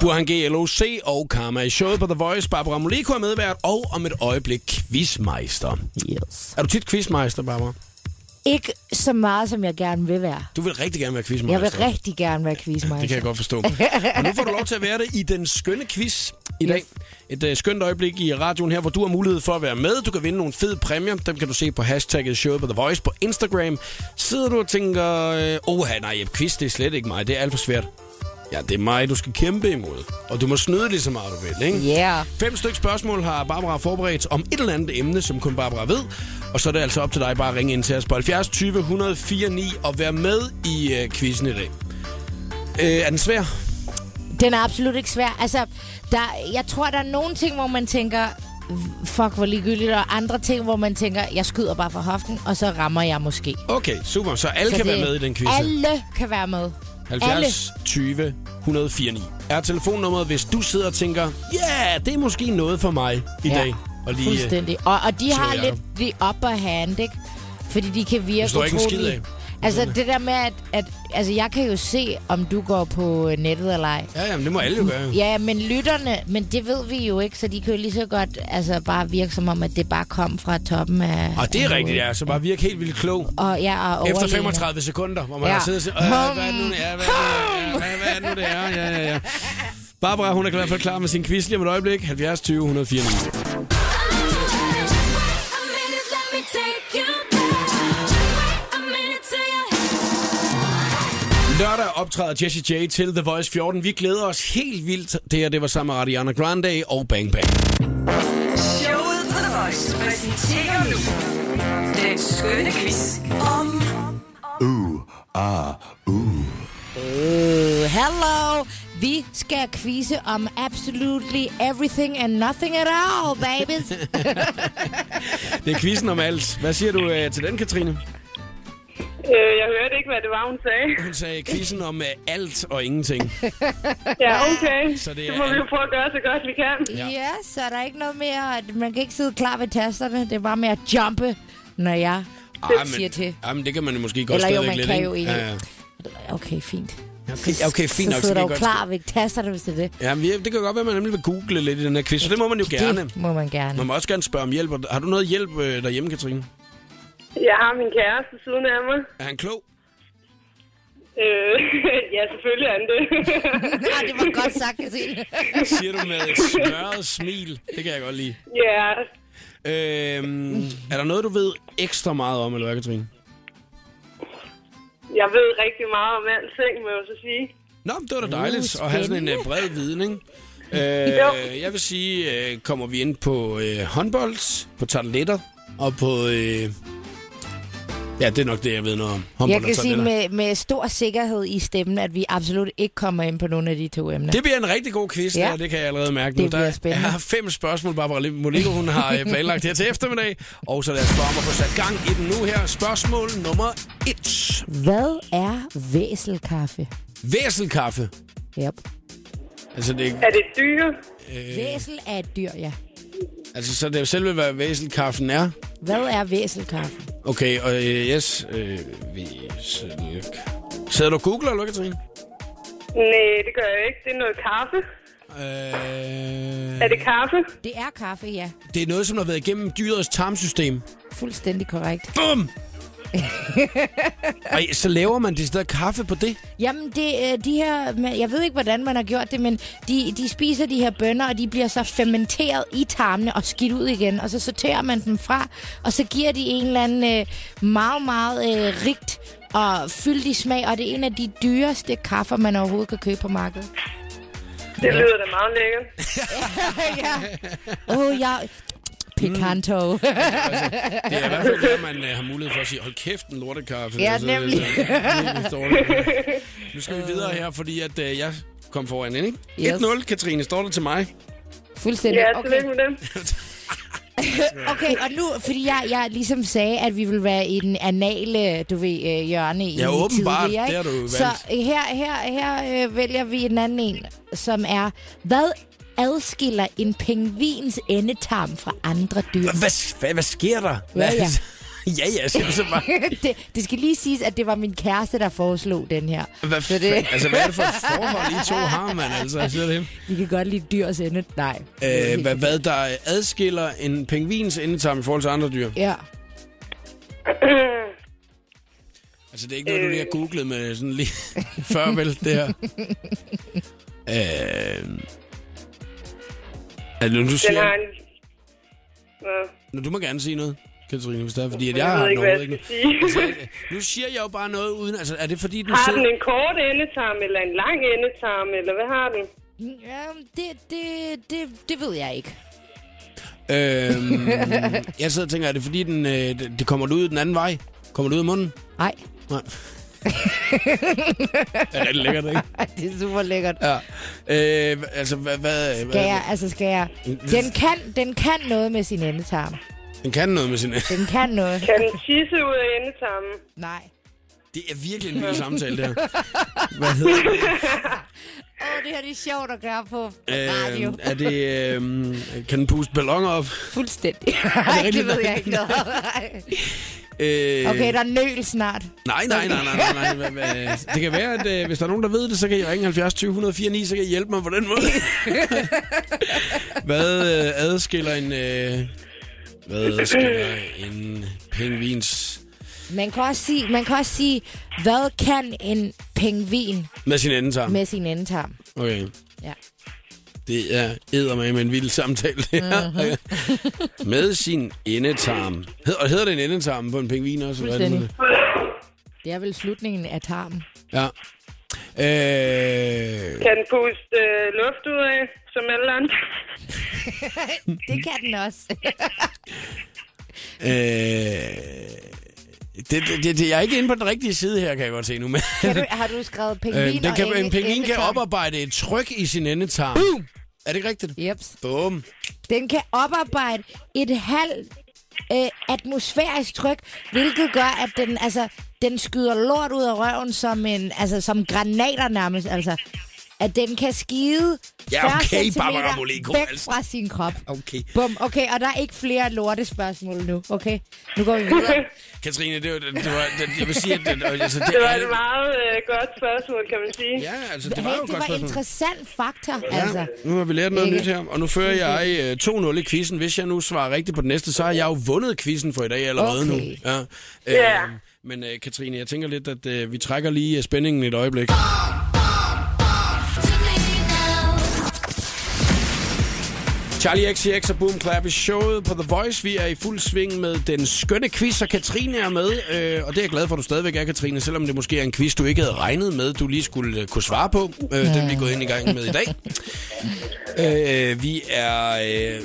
Burhan G, LOC og Karma i showet på The Voice. Barbara Moleko er medvært, og om et øjeblik quizmeister.
Yes.
Er du tit quizmeister, Barbara?
Ikke så meget, som jeg gerne vil være.
Du vil rigtig gerne være quizmeister.
Jeg vil rigtig gerne være quizmeister.
Det kan jeg godt forstå. Og nu får du lov til at være det i den skønne quiz i dag. Et øh, skønt øjeblik i radioen her, hvor du har mulighed for at være med. Du kan vinde nogle fede præmier. Dem kan du se på hashtagget showet på The Voice på Instagram. Sidder du og tænker, øh, åh nej, Jeppe, quiz det er slet ikke mig. Det er alt for svært. Ja, det er mig, du skal kæmpe imod. Og du må snyde lige så meget, du vil, ikke?
Yeah.
Fem stykke spørgsmål har Barbara forberedt om et eller andet emne, som kun Barbara ved. Og så er det altså op til dig bare at ringe ind til os på 70 20 104 9 og være med i øh, quizzen i dag. Øh, er den svær?
Den er absolut ikke svær. Altså, der, jeg tror, der er nogle ting, hvor man tænker, fuck, hvor ligegyldigt, og andre ting, hvor man tænker, jeg skyder bare fra hoften, og så rammer jeg måske.
Okay, super. Så alle så
Så
kan
det-
være med i den quiz.
Alle kan være med.
70 20 104 9 er telefonnummeret, hvis du sidder og tænker, ja, yeah, det er måske noget for mig i
Ja,
dag. Og lige, øh,
Fuldstændig. Og, og de
slå
har
Jacob.
lidt de upper hand, ikke? Fordi de kan virke
Du slår ikke en skid
utrolig-
af.
Altså det der med, at, at altså, jeg kan jo se, om du går på øh, nettet eller ej.
Ja, jamen, det må alle jo gøre. Ja.
Ja, men lytterne, men det ved vi jo ikke, så de kan jo lige så godt altså, bare virke som om, at det bare kom fra toppen af...
Og det er rigtigt,
af hovedet.
ja. Så bare virke helt vildt klog.
Og, ja, og
Efter
overlevende.
35 sekunder, hvor man ja.
Ja.
har siddet og siger, "Øh, hvad er det nu, det er? Hvad er det nu, det er? Hvad- Hvad er det nu, det er? Ja, ja, ja. Barbara, hun er i hvert fald klar med sin quiz lige om et øjeblik. 70 20 104 Lørdag optræder Jesse J til The Voice 14. Vi glæder os helt vildt. Det her, det var sammen med Ariana Grande og Bang Bang.
Showet på The Voice præsenterer nu den skønne quiz om
Øh, hello! Vi skal quizze om absolutely everything and nothing at all, babies.
Det er quizzen om alt. Hvad siger du øh, til den, Katrine?
Øh, jeg hørte ikke, hvad det var, hun sagde.
Hun sagde quizzen om øh, alt og ingenting.
Ja, okay.
Så
Så
det
det,
er
må vi jo
alt.
prøve at gøre så godt, vi kan.
Ja.
ja. ja, så er der ikke noget mere... at Man kan ikke sidde klar ved tasterne. Det er bare med at jumpe, når jeg
Ah,
siger til.
Ah, men det kan man jo måske godt
Eller jo,
stadigvæk
man
lidt,
kan
ikke?
jo ikke.
Ja, ja.
Okay, fint.
Okay, okay, fint
så
nok.
sidder
kan
du jo
godt-
klar ved tasterne, hvis det er det.
Ja, men det kan godt være, at man nemlig vil google lidt i den her quiz, så det må man jo gerne.
Det må man gerne.
Man må også gerne spørge om hjælp. Har du noget hjælp øh, derhjemme, Katrine?
Jeg har min kæreste siden af mig.
Er han klog?
Øh, ja, selvfølgelig er han det.
Ja, Ah, det var godt sagt, Katrine.
Siger du med et smørret smil. Det kan jeg godt lide.
ja,
Øhm, er der noget, du ved ekstra meget om, eller hvad, Katrine?
jeg ved rigtig meget om alting, må jeg jo så sige.
Nå, men det var da dejligt
Uh,
at have sådan en øh, bred viden, ikke? Øh, jeg vil sige, øh, kommer vi ind på øh, håndbold, på tarteletter og på... Øh, ja, det er nok det, jeg ved noget om. Håndbold
Jeg
og
kan sige
tarteletter.
med, med stor sikkerhed i stemmen, at vi absolut ikke kommer ind på nogen af de to emner.
Det bliver en rigtig god quiz, ja.
Ja.
der, det kan jeg allerede mærke nu.
Det bliver
Der
spændende.
er fem spørgsmål, Barbara Molego, hun har øh, planlagt her til eftermiddag. Og så lad os bare om at få sat gang i den nu her. Spørgsmål nummer et.
Hvad er væselkaffe?
Væselkaffe.
Yep.
Altså, det,
Er det et dyr?
Øh.
Væsel er et dyr, ja.
altså så det er jo selve, hvad væselkaffen er.
Hvad er væselkaffe?
Okay, og øh, yes, øh, væselk. Sidder du og googler, eller hvad, Katrine?
Nej, det gør jeg ikke. Det er noget kaffe. Er
Øh,
det kaffe?
Det er kaffe, ja.
det er noget, som har været igennem dyrets tarmsystem.
Fuldstændig korrekt.
Bum! Og så laver man det der kaffe på det?
Jamen, det, øh, de her, men jeg ved ikke, hvordan man har gjort det, men de, de spiser de her bønner, og de bliver så fermenteret i tarmene og skidt ud igen. Og så sorterer man dem fra, og så giver de en eller anden øh, meget, meget øh, rigt og fyldig smag. Og det er en af de dyreste kaffer, man overhovedet kan købe på markedet.
Det lyder da meget lækkert.
ja. Oh, jeg... Picanto. Mm.
Det er i hvert fald der, man øh, har mulighed for at sige, hold kæft, en lortekaffe.
Ja, nemlig.
Så, virkelig dårligt. nu skal vi videre her, fordi at, øh, jeg kom foran, ikke?
Yes.
1-0, Katrine, står det til mig?
Fuldstændig.
Ja,
Okay.
tillykke med det.
okay, og nu, fordi jeg, jeg ligesom sagde, at vi ville være i den anale, du ved, øh, hjørne i
Ja, åbenbart.
tidligere, ikke?
Det har du jo
Så
valgt.
øh, her, her, her øh, vælger vi en anden en, som er, hvad adskiller en pingvins endetarm fra andre dyr?
Hvad, hvad, hvad sker der?
Ja, ja.
ja, ja, siger du så bare.
det, det skal lige siges, at det var min kæreste, der foreslog den her.
Hvad,
Så
det... altså, hvad er det for et forhold, I to har, man? Altså, jeg siger det.
I kan godt lide dyrs ende. Nej.
Øh, hvad, hvad der adskiller en pingvins endetarm i forhold til andre dyr?
Ja.
Altså, det er ikke noget, du lige har googlet med sådan lige før, vel, det her. øh... Altså, nu, du
Den
siger,
har en... Nå,
nu, du må gerne sige noget, Katrine, hvis det er, fordi at jeg,
jeg
har
ved ikke, hvad
noget. Altså,
jeg skal sige.
Nu siger jeg jo bare noget uden... Altså, er det fordi, den
Har den
sidder...
en kort endetarm, eller en lang endetarm, eller hvad har den?
Ja, Mm, øhm, det, det, det, det ved jeg ikke.
Øhm, jeg sidder og tænker, er det fordi, den, øh, det, det kommer ud den anden vej? Kommer det ud af munden?
Nej,
Nej. det er rigtig lækkert, ikke?
det er super lækkert.
Ja. Øh, altså, hvad... hvad
Skal jeg, altså skal jeg... Den kan, den kan noget med sin endetarm.
Den kan noget med sin...
Den kan noget.
Kan den tisse ud af endetarmen?
Nej.
Det er virkelig en vild samtale, det her. Hvad hedder det?
Åh, oh, det her det er sjovt at gøre på radio.
Øh, er det... Øh, kan den puste ballonger op?
Fuldstændig. Nej, det
rigtigt?
ved jeg ikke noget om.
Øh,
Okay, der er nøl snart.
Nej, nej, nej, nej, nej, nej. Hvad, hvad? Det kan være, at øh, hvis der er nogen, der ved det, så kan I ringe 70 20 104 9, så kan I hjælpe mig på den måde. hvad øh, adskiller en... Øh, hvad adskiller en pingvins
Man kan, også sige, man kan også sige, hvad kan en pingvin
med sin endetarm?
med sin endetarm?
Okay.
Ja.
Det er eddermame en vild samtale, det her. med sin endetarm. Hed, og hedder det en endetarm på en pingvin også? eller hvad er det nu?
Fuldstændig. Det er vel slutningen af tarmen.
Ja. Øh,
Kan den puste øh, luft ud af, som alle andre?
Det kan den også.
øh, det, det, det, jeg er ikke inde på den rigtige side her, kan jeg godt se nu. Men,
Kan du, har du skrevet pingvin
øh, den
og
kan, en
ende-
pingvin kan
endetarm?
oparbejde et tryk i sin endetarm. Boom! Er det ikke rigtigt?
Jeps.
Bum.
Den kan oparbejde et halvt øh, atmosfærisk tryk, hvilket gør, at den, altså, den skyder lort ud af røven som, en, altså, som granater nærmest. Altså, at den kan skide
Ja,
40
okay,
centimeter
Barbara Moleko,
væk
altså.
fra sin krop.
Okay.
Bum, okay, og der er ikke flere lortespørgsmål nu, okay? Nu går vi videre.
Katrine, det var, det var det, jeg vil sige, at det, altså, det,
Det var
er-
et meget øh, godt spørgsmål, kan man sige.
Ja, altså, det
Det
var
var,
jo et
hey, det
godt
var
spørgsmål.
interessant fakta, ja.
Ja,
altså.
nu har vi lært noget
Ikke?
nyt her, og nu fører jeg øh, 2-0 i quizzen. Hvis jeg nu svarer rigtigt på den næste, så har jeg jo vundet quizzen for i dag allerede
Okay.
nu. Ja. Øh,
Ja.
Men øh, Katrine, jeg tænker lidt, at øh, vi trækker lige øh, spændingen et øjeblik. Charlie XCX og Boom Clap i showet på The Voice. Vi er i fuld sving med den skønne quiz, og Katrine er med. Øh, og det er jeg glad for, at du stadigvæk er, Katrine, selvom det måske er en quiz, du ikke havde regnet med, du lige skulle øh, kunne svare på. Øh, den vi er gået ind i gang med i dag. Øh, vi er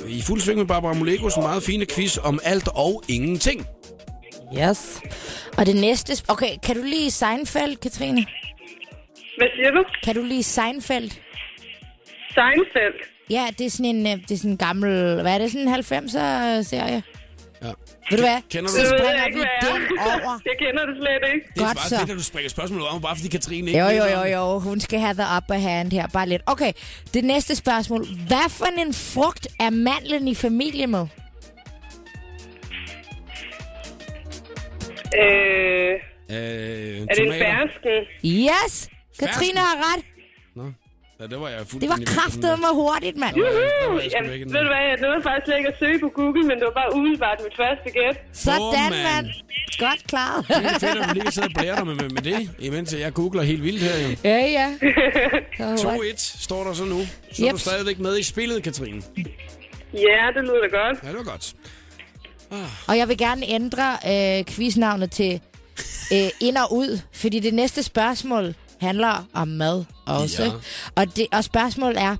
øh, i fuld sving med Barbara Molekos meget fine quiz om alt og ingenting.
Yes. Og det næste... sp- Okay, kan du lige Seinfeld, Katrine?
Hvad siger du?
Kan du lige Seinfeld?
Seinfeld.
Ja, det er sådan en, øh, det er sådan en gammel... Hvad er det? Sådan en 90'er-serie?
Ja.
Ved du hvad?
Kender du
Så
det?
Det ved
springer
jeg
vi
ikke, hvad er.
den over.
Jeg kender det slet ikke.
Det er
Godt
bare
så.
fedt, at du springer spørgsmålet om, bare fordi Katrine ikke
Jo,
ved
jo,
noget
jo,
om det.
jo. Hun skal have the upper hand her. Bare lidt. Okay, det næste spørgsmål. Hvad for en frugt er mandlen i familie med?
Øh,
Øh,
er det en
tomater.
fersken?
Yes! Katrine har ret.
Nå. Ja, det var jeg fuldt
Det var kraftedeme hurtigt, mand.
Uh, Jamen, Mm-hmm. ved du hvad, jeg nåede faktisk slet ikke at søge på Google, men det var bare umiddelbart mit første gæt.
Sådan,
Åh, mand.
mand. godt klaret.
Det er fedt, at man lige kan sidde og blære dig med, med, med det, imens jeg googler helt vildt her. Jo.
ja, ja. Så hurtigt.
2-1 står der så nu. Så er
Yep.
du stadigvæk med i spillet, Katrine.
Ja, det lyder da godt.
Ja, det var godt.
Og jeg vil gerne ændre øh, quiznavnet til øh, ind og ud, fordi det næste spørgsmål handler om mad også.
Ja.
Ja. Og, det, og spørgsmålet er,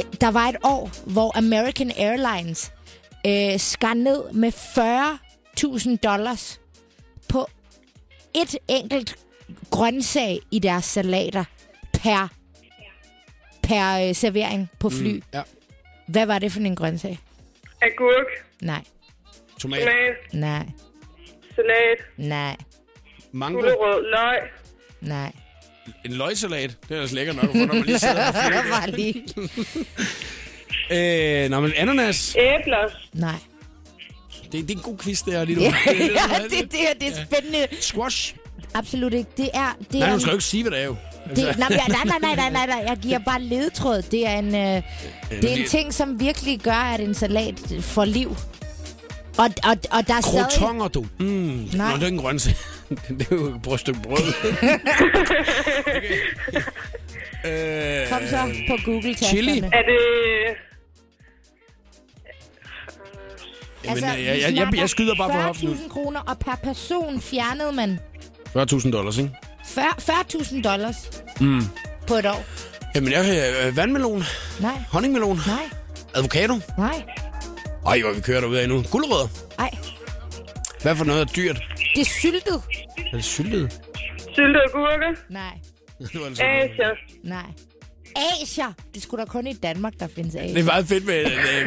øh, der var et år, hvor American Airlines øh, skar ned med 40.000 dollars på et enkelt grøntsag i deres salater per, per øh, servering på fly. Mm.
Ja.
Hvad var det for en grøntsag?
Agurk,
Nej,
Tomat,
tomat,
nej,
salat,
nej.
mango,
gulerod, løg.
Nej.
en løgsalat. Det er ellers lækker nok, at få, når man lige sidder på
Det var lige.
øh, Nå, men ananas.
Æbler.
Nej.
Det, det er en god quiz, det her lige nu.
Ja,
Det er sådan,
det, det, her, det er spændende.
Squash.
Absolut ikke. Det er... Det
Nej,
er
du skal jo ikke sige, hvad det er jo. Altså,
det, nej, nej, nej, nej, nej, nej, nej, jeg giver bare ledetråd. Det er en, øh, det er en ting, som virkelig gør, at en salat får liv. Og, og, og der er stadig...
Krotonger, du. Mm. Nå,
Nej,
det er ikke en grøntsag. det er jo et stykke brød. okay. øh,
kom så på google
Chili?
Er det...
Altså,
Jamen, jeg, jeg, jeg, jeg, jeg skyder bare på hoften.
40.000 kroner, og per person fjernede man
40.000 dollars, ikke?
40 40.000 dollars mm. på et år.
Jamen, jeg har øh, vandmelon,
Nej,
honningmelon,
nej,
avocado.
nej,
Ej, hvor vi kører derude af nu. Gulerødder.
nej.
Hvad for noget er dyrt?
Det er syltet.
Er det syltet?
Syltet agurke?
Mhm.
Nej.
det var altså
Øh.
Asia.
Nej. Asier. Det skulle da kun i Danmark, der findes
Det er
asier.
meget fedt med, øh, med,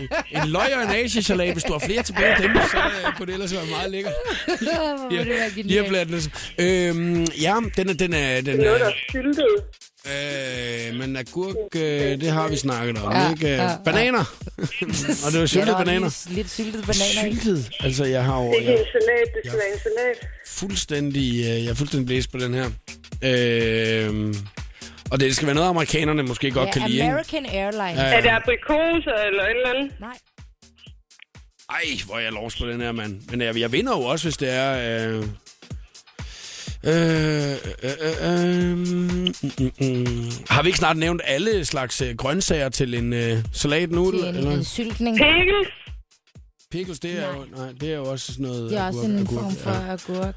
med en løg og en asisalat. Hvis du har flere tilbage af dem, så øh, kunne det ellers være meget lækkert.
Hvor må det være genialt.
Lige at blande det. Øhm, ja, den er... Den er, den
Noget,
er
der er syltet.
øh, men agurk, øh, det har vi snakket om,
Ja,
ikke?
ja, ja.
bananer. og det var
Ja, der
syltede
var
bananer.
lige Lidt syltede bananer i.
Syltet. Altså, jeg har jo...
Det er ikke
Jeg,
en salat, det skal være en salat.
fuldstændig, øh, jeg er fuldstændig blæst på den her. Øh, og det skal være noget, amerikanerne måske godt
Ja,
kan lide. ikke?
American Airlines.
Ja,
Er det
ja.
aprikoser eller et eller andet?
Nej.
Ej, hvor er jeg lovs på den her, mand. Men jeg, jeg vinder jo også, hvis det er... Øh, øh, øh, øh, mm, mm, mm. Har vi ikke snart nævnt alle slags øh, grøntsager til en øh, salat nu?
Det er en, en
Eller?
syltning.
Pickles?
Pickles, det er, jo, nej, det er jo også sådan noget...
Det er også en
agurk,
form
ja.
for agurk.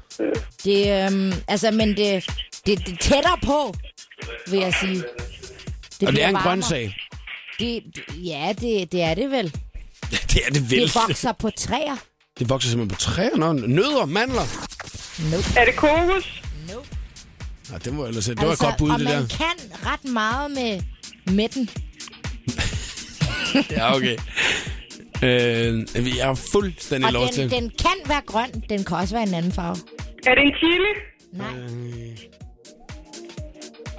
Det, øhm, altså, men det, det, det er tættere på, vil jeg sige.
Og det
bliver
er en
varmere.
grøntsag.
Det, det- ja, det, det er det vel.
det er det vel.
Det vokser på træer.
det vokser simpelthen på træer. Nå, nødder, mandler.
Er det kokos?
Nå, det må jeg ellers sætte. Det var et godt bud,
Altså, og
det
man
der.
kan ret meget med, med den.
Ja, okay. Øh, vi er fuldstændig
Og
lov
den,
til.
den kan være grøn, den kan også være en anden farve.
Er det en chili?
Nej,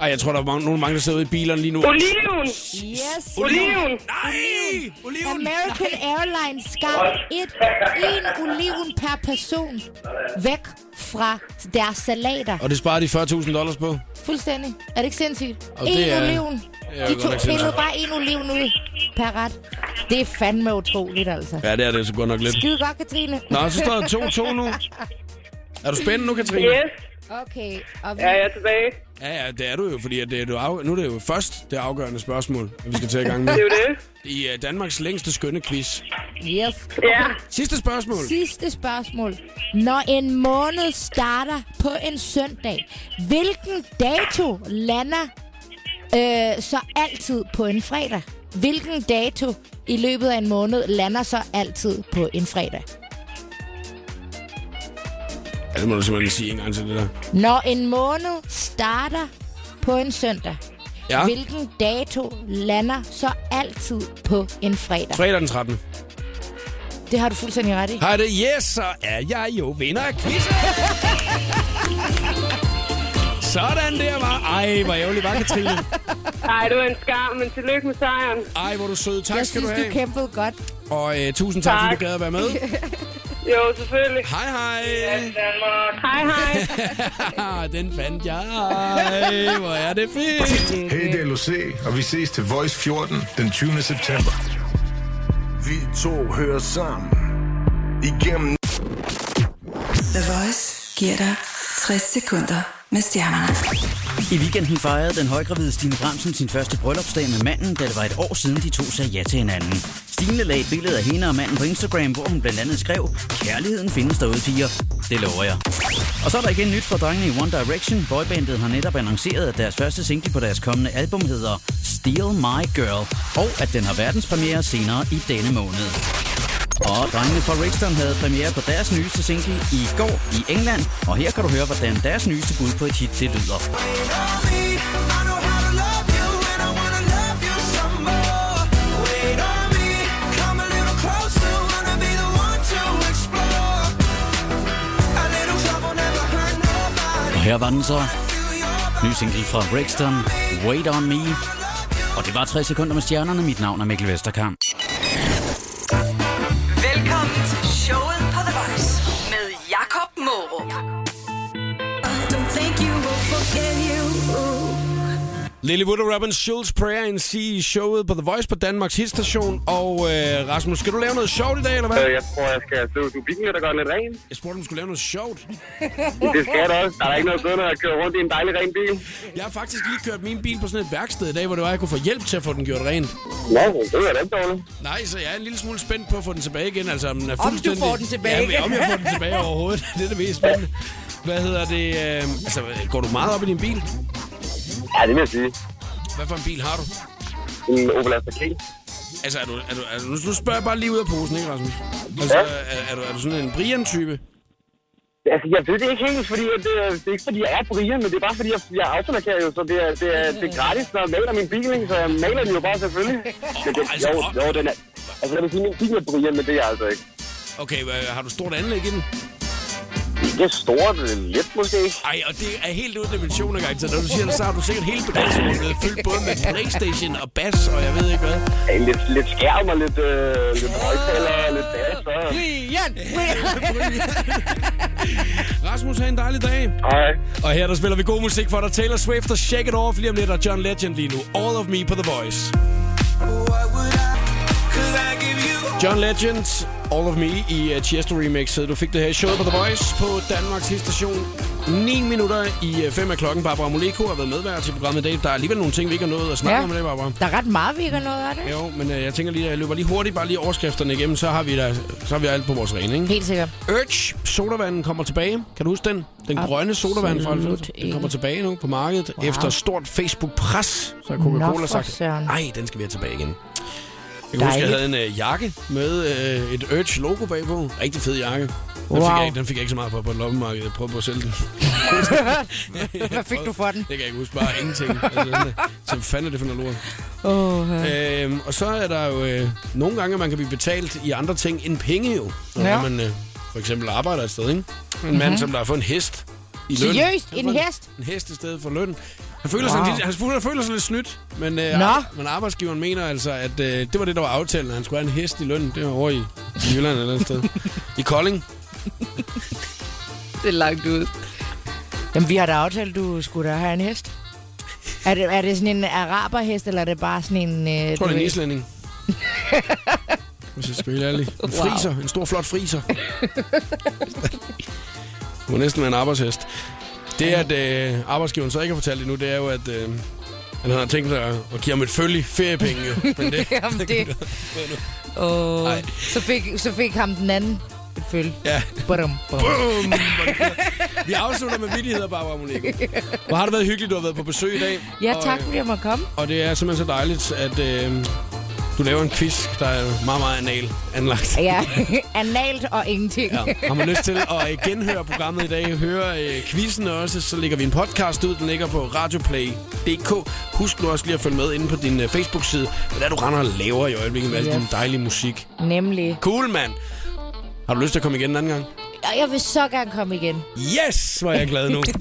Ej, jeg tror, der er mange, nogen mange, der sidder ude i bilerne lige nu.
Oliven?
yes.
Oliven?
Nej! Oliven!
American Airlines skar et, en oliven per person væk fra deres salater.
Og det sparer de 40.000 dollars på.
Fuldstændig. Er det ikke sindssygt?
Og
en
det er-
oliven.
det er
De
godt
to
nok
pillede
sindssygt.
bare en oliven ud per ret. Det er fandme utroligt, altså.
Ja, det er det så godt nok lidt.
Skide godt, Katrine.
Nå, så står der 2-2 nu. Er du spændt nu, Katrine?
Yes.
Okay, og vi...
Ja, jeg er tilbage.
Ja, ja, det er du jo, fordi at det er du af... nu er det jo først det afgørende spørgsmål, vi skal til i gang med.
Det er jo det.
I uh, Danmarks længste skønne quiz.
Yes.
Ja.
Sidste spørgsmål.
Sidste spørgsmål. Når en måned starter på en søndag, hvilken dato lander øh, så altid på en fredag? Hvilken dato i løbet af en måned lander så altid på en fredag?
Ja, det må du simpelthen sige en gang til det der.
Når en måned starter på en søndag,
Ja,
hvilken dato lander så altid på en fredag?
fredag den 13.
Det har du fuldstændig ret i.
Hej det, yes, så er jeg jo vinder af quizzen. Sådan der var. Ej, hvor ærgerlig var Katrine.
Ej, det var en skam, men tillykke med sejren.
Ej, hvor er du sød. Tak
Jeg
skal
synes,
du
du
have.
kæmpede godt.
Og øh, tusind tak, fordi
Tak.
du gad at være med.
Jo, selvfølgelig.
Hej, hej. Ah,
Danmark. Hej, hej.
Den fandt jeg. Ej, hvor er det fedt.
Hey, det er LOC, og vi ses til Voice 14 den 20. september. Vi to hører sammen. Igennem
The Voice giver dig 60 sekunder med stjernerne.
I weekenden fejrede den højgravide Stine Bramsen sin første bryllupsdag med manden, da det var et år siden, de to sagde ja til hinanden. Stine lagde et billede af hende og manden på Instagram, hvor hun blandt andet skrev, Kærligheden findes derude, piger. Det lover jeg. Og så er der igen nyt fra drengene i One Direction. Boybandet har netop annonceret, at deres første single på deres kommende album hedder Steal My Girl, og at den har verdenspremiere senere i denne måned. Og drengene fra Rixton havde premiere på deres nyeste single i går i England, og her kan du høre, hvordan deres nyeste bud på et hit det lyder. Og her var den så. Ny single fra Brixton, Wait On Me. Og det var 3 sekunder med stjernerne. Mit navn er Mikkel Vesterkamp.
Velkommen til showet på The Voice med Jakob Morup.
Lily Wood og Robin Schulz, Prayer and Sea i showet på The Voice på Danmarks hitstation. Og øh, Rasmus, skal du lave noget sjovt i dag, eller hvad?
Øh, Jeg tror, jeg skal støve subikken lidt og gøre den lidt ren.
Jeg spurgte, om du skulle lave noget sjovt.
Det skal jeg da også. Der er da ikke noget bedre, end at køre rundt i en dejlig ren bil.
Jeg har faktisk lige kørt min bil på sådan et værksted i dag, hvor det var, jeg kunne få hjælp til at få den gjort rent.
Nå, det er da ikke dårligt.
Nej, så jeg er en lille smule spændt på at få den tilbage igen. Altså, om, den er
du
fuldstændig...
får den tilbage
ja, men, om
igen.
jeg får den tilbage overhovedet. Det er det mest spændende. Hvad hedder det? Øh, altså, går du meget op i din bil?
Ja, det vil jeg sige.
Hvad for en bil har du?
En Opel Astra K.
Altså, er du, er du, er du, nu spørger jeg bare lige ud af posen, ikke, Rasmus? Altså,
Ja.
er, er, du, er du sådan en Brian-type?
Altså, jeg ved det ikke helt, fordi at det, er- det er ikke, fordi jeg er Brian, men det er bare, fordi jeg, jeg automarkerer jo, så det er, det er, det er gratis, når jeg maler min bil, ikke? så jeg maler den jo bare selvfølgelig. Men det,
altså,
jo,
op-
jo, den er... Altså, jeg vil sige, min bil er Brian, men det er jeg altså ikke.
Okay, hvad, har du stort anlæg i den?
Det er stort, øh, lidt måske.
Ej, og det er helt uden dimensioner, gang. Så når du siger det, så har du sikkert hele bagagerummet fyldt både med Playstation og bas, og jeg ved ikke hvad.
Ja, lidt, lidt skærm og lidt, øh, lidt højtaler og lidt bas. Så...
Brian!
Rasmus, have en dejlig dag.
Hej.
Og her der spiller vi god musik for dig. Taylor Swift og Shake It Off lige om lidt, og John Legend lige nu. All of Me på The Voice. John Legend, All of Me i uh, Tiesto remixet. Du fik det her i showet på The Voice på Danmarks station. 9 minutter i 5 af klokken. Barbara Moleko har været medvært til programmet i dag. Der er alligevel nogle ting, vi ikke har nået at snakke
Ja.
om i dag, Barbara.
Der er ret meget, vi ikke har noget af det.
Jo, men øh, jeg tænker lige, at jeg løber lige hurtigt bare lige overskrifterne igennem, så har vi, der, så har vi alt på vores rene, ikke?
Helt sikkert.
Urge, sodavanden kommer tilbage. Kan du huske den? Den
Absolut
grønne sodavand fra 90'erne. Den
ikke.
kommer tilbage nu på markedet. Wow. Efter stort Facebook-pres, så har Coca-Cola
Nå, for
sagt,
søren.
nej, den skal vi have tilbage igen. Jeg kan huske, jeg
Dejligt.
havde en øh, jakke med øh, et Urge-logo bagpå. Rigtig fed jakke. Den,
Wow.
fik jeg, ikke- den fik jeg ikke så meget på på et loppemarked. Jeg prøvede på at sælge den.
Hvad fik du for den?
Det kan jeg ikke huske. Bare ingenting. Altså, så hvad fanden er det for noget lort?
Åh, ja.
Øhm, og så er der jo øh, nogle gange, at man kan blive betalt i andre ting end penge jo. Når
Ja. Mhm.
man øh, for eksempel arbejder et sted, ikke? En mm-hmm. mand, som der har fået en hest i løn.
Seriøst?
Han har
En
fået
hest?
En hest i stedet for løn. Han føler, wow. sig,
Wow.
lidt, han føler, føler sig lidt snydt, men, øh,
Nå.
ar- men arbejdsgiveren mener altså, at øh, det var det, der var aftalen. at Han skulle have en hest i løn. Det var over i, i Jylland eller et sted. I Kolding.
Det er langt ud.
Jamen, vi har da aftalt, du skulle da have en hest. Er det, er det sådan en araberhest, eller er det bare sådan en... Øh,
Jeg tror, det er en islænding. Hvis jeg skal være helt ærlig. En friser. En stor, flot friser. Du må næsten være en arbejdshest. Det, at øh, arbejdsgiveren så ikke har fortalt endnu, det er jo, at øh, han har tænkt sig at at give ham et følge feriepenge. Jo. Men det,
Jamen, det... Åh,
Ej.
så, fik, så fik ham den anden et følge.
ja.
Badum, badum.
Bum! Vi afslutter med vittigheder, Barbara Monico. Hvor har det været hyggeligt, du har været på besøg i dag.
Ja,
Og,
tak
øh,
fordi jeg måtte komme.
Og det er simpelthen så dejligt, at øh, du laver en quiz, der er meget, meget anal anlagt.
Ja, analt og ingenting. Ja.
Ja. Har man lyst til at øh, genhøre programmet i dag, høre øh, quizzen også, så lægger vi en podcast ud. Den ligger på radioplay.dk. Husk nu også lige at følge med inde på din øh, Facebook-side, hvad det er, du render og laver i øjeblikket med yes. al
Yes.
din dejlige musik.
Nemlig.
Cool, mand! Har du lyst til at komme igen en anden gang?
Og jeg vil så gerne komme igen.
Yes, hvor er jeg glad nu.
Det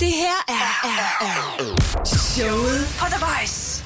her er, er, er showet på The Voice.